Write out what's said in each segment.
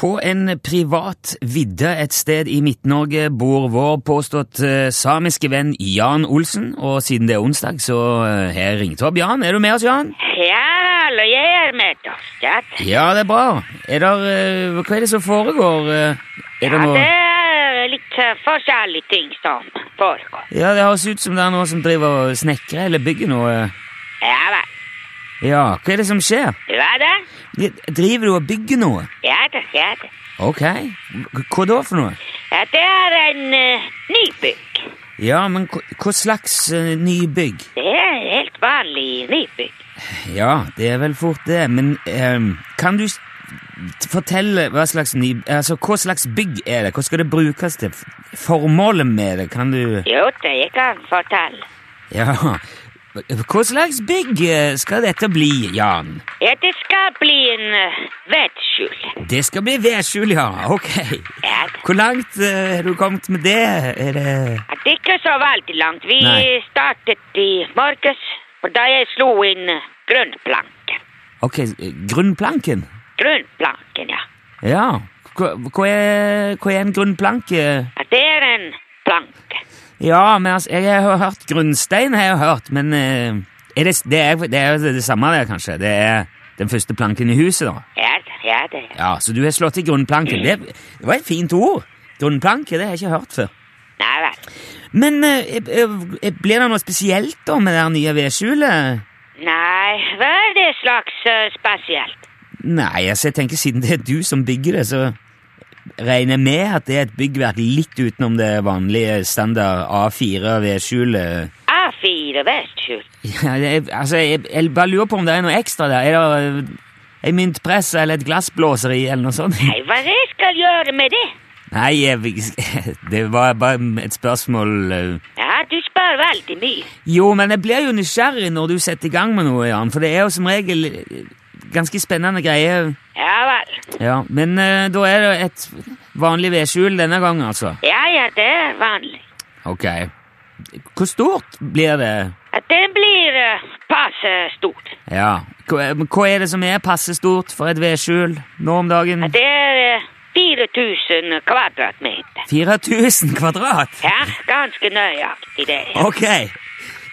På en privat vidde et sted i Midt-Norge bor vår påstått eh, samiske venn Jan Olsen. Og siden det er onsdag, så eh, har jeg ringt opp Jan. Er du med oss, Jan? Ja, eller jeg er med, Torstein. Ja, det er bra. Er der, eh, hva er det som foregår? eh? Er det Ja, noe det er litt eh, forskjellige ting som foregår. Ja, det høres ut som det er noen som driver og snekrer eller bygger noe. Ja vel. Ja, hva er det som skjer? Hva da? Ja, Driver du og bygger noe? Ja da, ja da. Ok. Hva da for noe? Ja, det er en eh, nybygg. Ja, men hva hva slags eh, nybygg? Det er en helt vanlig nybygg. Ja, det er vel fort det, men ehm, kan du s- t- fortelle hva slags, ny, altså, hva slags bygg er det? Hva skal det brukes til? Formålet med det, kan du Jo, det jeg kan fortelle. Ja. Hva slags bygg eh, skal dette bli, Jan? Ja, det skal bli en uh, vedskjul. Det skal bli vedskjul, ja. Ok. Ja da. Hvor langt eh, har du kommet med det? Er det Ja, Det er ikke så veldig langt. Vi Nei. startet i morges, og da jeg slo inn eh, grunnplanken. Ok, s- grunnplanken? Grunnplanken, ja. Ja. Hva, hva, er, hva er en grunnplanke? Ja, Det er en planke. Ja, men altså, jeg har hørt grunnstein, har jeg hørt, men eh, er det, det, er, det er jo det samme der, kanskje. Det er den første planken i huset, da. Ja, da, ja, det er. Ja, Så du har slått i grunnplanken. Det, det var et fint ord. Grunnplanke, det har jeg ikke hørt før. Nei vel. Men eh, eh, eh, blir det noe spesielt da med det her nye vedskjulet? Nei, hva er det slags eh, spesielt? Nei, altså, jeg tenker siden det er du som bygger det, så regner jeg med at det er et byggverk litt utenom det vanlige standard A4-vedskjulet. A4 vedskjul. Ja, det, er- altså, jeg, jeg bare lurer på om det er noe ekstra der. Er det eh, en myntpress eller et glassblåseri eller noe sånt? Nei, hva jeg skal gjøre med det? Nei, jeg, det var bare et spørsmål eh. Ja, du spør veldig mye. Jo, men jeg blir jo nysgjerrig når du setter i gang med noe, Jan, for det er jo som regel eh, ganske spennende greier. Ja vel. Ja, men eh, da er det et vanlig vedskjul denne gangen, altså. Ja, ja, det er vanlig. Ok. Hvor stort blir det? At det blir eh, passe stort. Ja. Hva, men hva er det som er passe stort for et vedskjul nå om dagen? At det er eh, 4000 kvadratmeter. 4000 kvadrat? Ja, ganske nøyaktig det. Ok.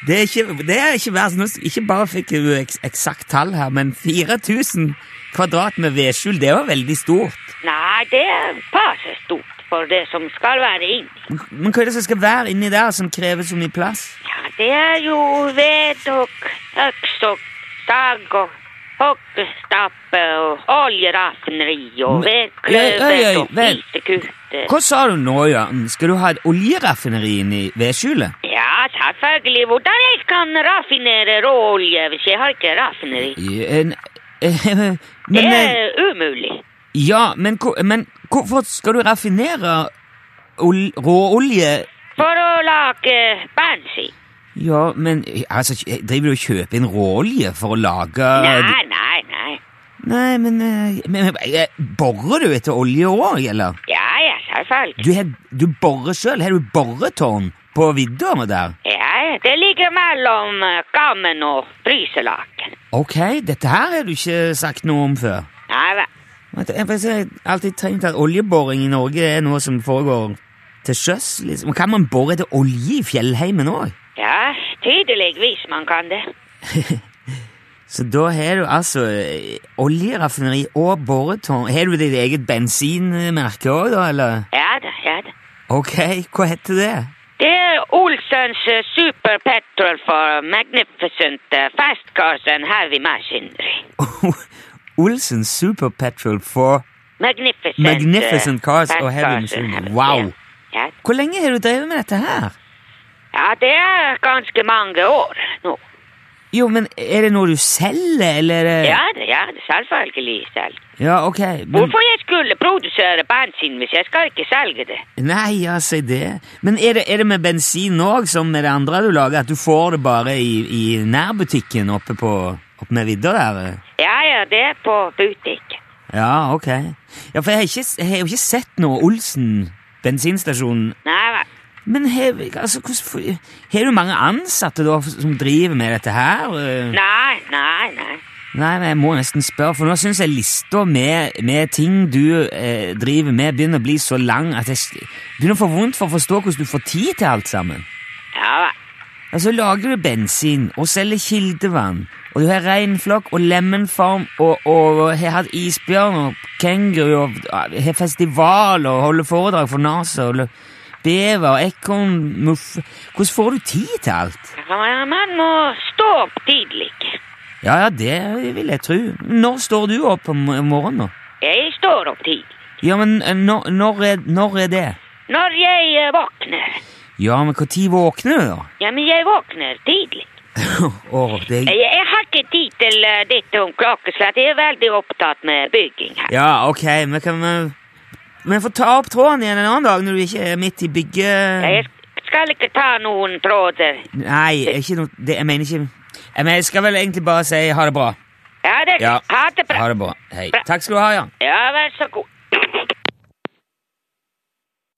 Det er ikke, det er ikke verst. Nå s- Ikke bare fikk jeg jo eks- eksakt tall her, men 4000 kvadrat med vedskjul, det var veldig stort. Nei, det er passe stort for det som skal være inni. Men- Men hva er det som skal være inni der som krever så mye plass? Ja, det er jo ved og øks og sag og hoggestappe og oljeraffineri og Men- Oi, oi, vedkløver oi, og vent. fisekute. Hva sa du nå, Jan? Skal du ha et oljeraffineri inni vedskjulet? Ja, selvfølgelig. Hvordan jeg kan raffinere råolje hvis jeg har ikke raffineri? Ja, en- eh, Det Men eh, er umulig. Ja, men, hvor- men hvorfor skal du raffinere ol, råolje For å lage bensin. Ja, men altså, driver du og kjøper inn råolje for å lage Nei, nei, nei. Nei, men, eh, men, men eh, Borer du etter olje òg, eller? Ja, ja, selvfølgelig. Du, har- du borer sjøl? Har du boretårn på vidda med der? Ja, ja, det ligger mellom eh, gammen og fryselaken. Ok, dette her har du ikke sagt noe om før. Nei vel. Vet du, Jeg for jeg har alltid tenkt at oljeboring i Norge er noe som foregår til sjøs. liksom. Kan man bore etter olje i fjellheimen òg? Ja, tydeligvis man kan det. Så da har du altså eh, oljeraffineri og boretårn. Har du ditt eget bensinmerke òg, da, eller? Ja da, ja da. Ok, hva heter det? Det er Olsens eh, Super Petrol for Magnificent eh, Fast Cars and Heavy Machinery. Olsen Super Petrol for Magnificent, eh, Magnificent Cars Fast og Heavy Cars and Machinery. Heavy- Wow! Ja. Hvor lenge har du drevet med dette her? ja, det er ganske mange år nå. Jo, men er det noe du selger, eller? er det- Ja da, ja da, selvfølgelig selv. Ja, ok. Men, Hvorfor jeg skulle produsere bensin hvis jeg skal ikke selge det? nei, ja, si det. Men er det, er det med bensin òg, som med det andre du lager, at du får det bare i, i nærbutikken oppe på oppe med vidda der? Ja, ja, det er på butikk. Ja, ok. Ja, for jeg har, ikke, jeg har jo ikke sett noe Olsen bensinstasjon. Nei vel. Men har altså, hvordan- har du mange ansatte da som driver med dette her? Nei, nei, nei. Nei, men jeg må nesten spørre, for nå syns jeg lista med, med ting du eh, driver med, begynner å bli så lang at jeg s- begynner å få vondt for å forstå hvordan du får tid til alt sammen. Ja vel. Altså, lager du bensin og selger kildevann, og du har reinflokk og lemenfarm og, og, har hatt isbjørn og kenguru og ja, har festival og holder foredrag for NASA og lø- bever og ekornmuff Hvordan får du tid til alt? Ja, Man må stå opp tidlig. Ja, ja, det vil jeg tro. Når står du opp om om morgenen? da? Jeg står opp tidlig. Ja, men eh, når, når, er, når er det? Når jeg eh, våkner. Ja, men når våkner du, da? Ja, men jeg våkner tidlig. Åh, det Jeg, jeg har ikke tid til eh, dette om klokkeslett. Jeg er veldig opptatt med bygging her. Ja, ok, men kan vi Vi får ta opp tråden igjen en annen dag når du ikke er midt i bygge... Jeg skal ikke ta noen tråder. Nei, ikke noe det, Jeg mener ikke jeg, mener, jeg skal vel egentlig bare si ha det bra. Ja, det, Ja. ha det bra. Ha det bra. Hei. Takk skal du ha, Jan. Ja, vær så god.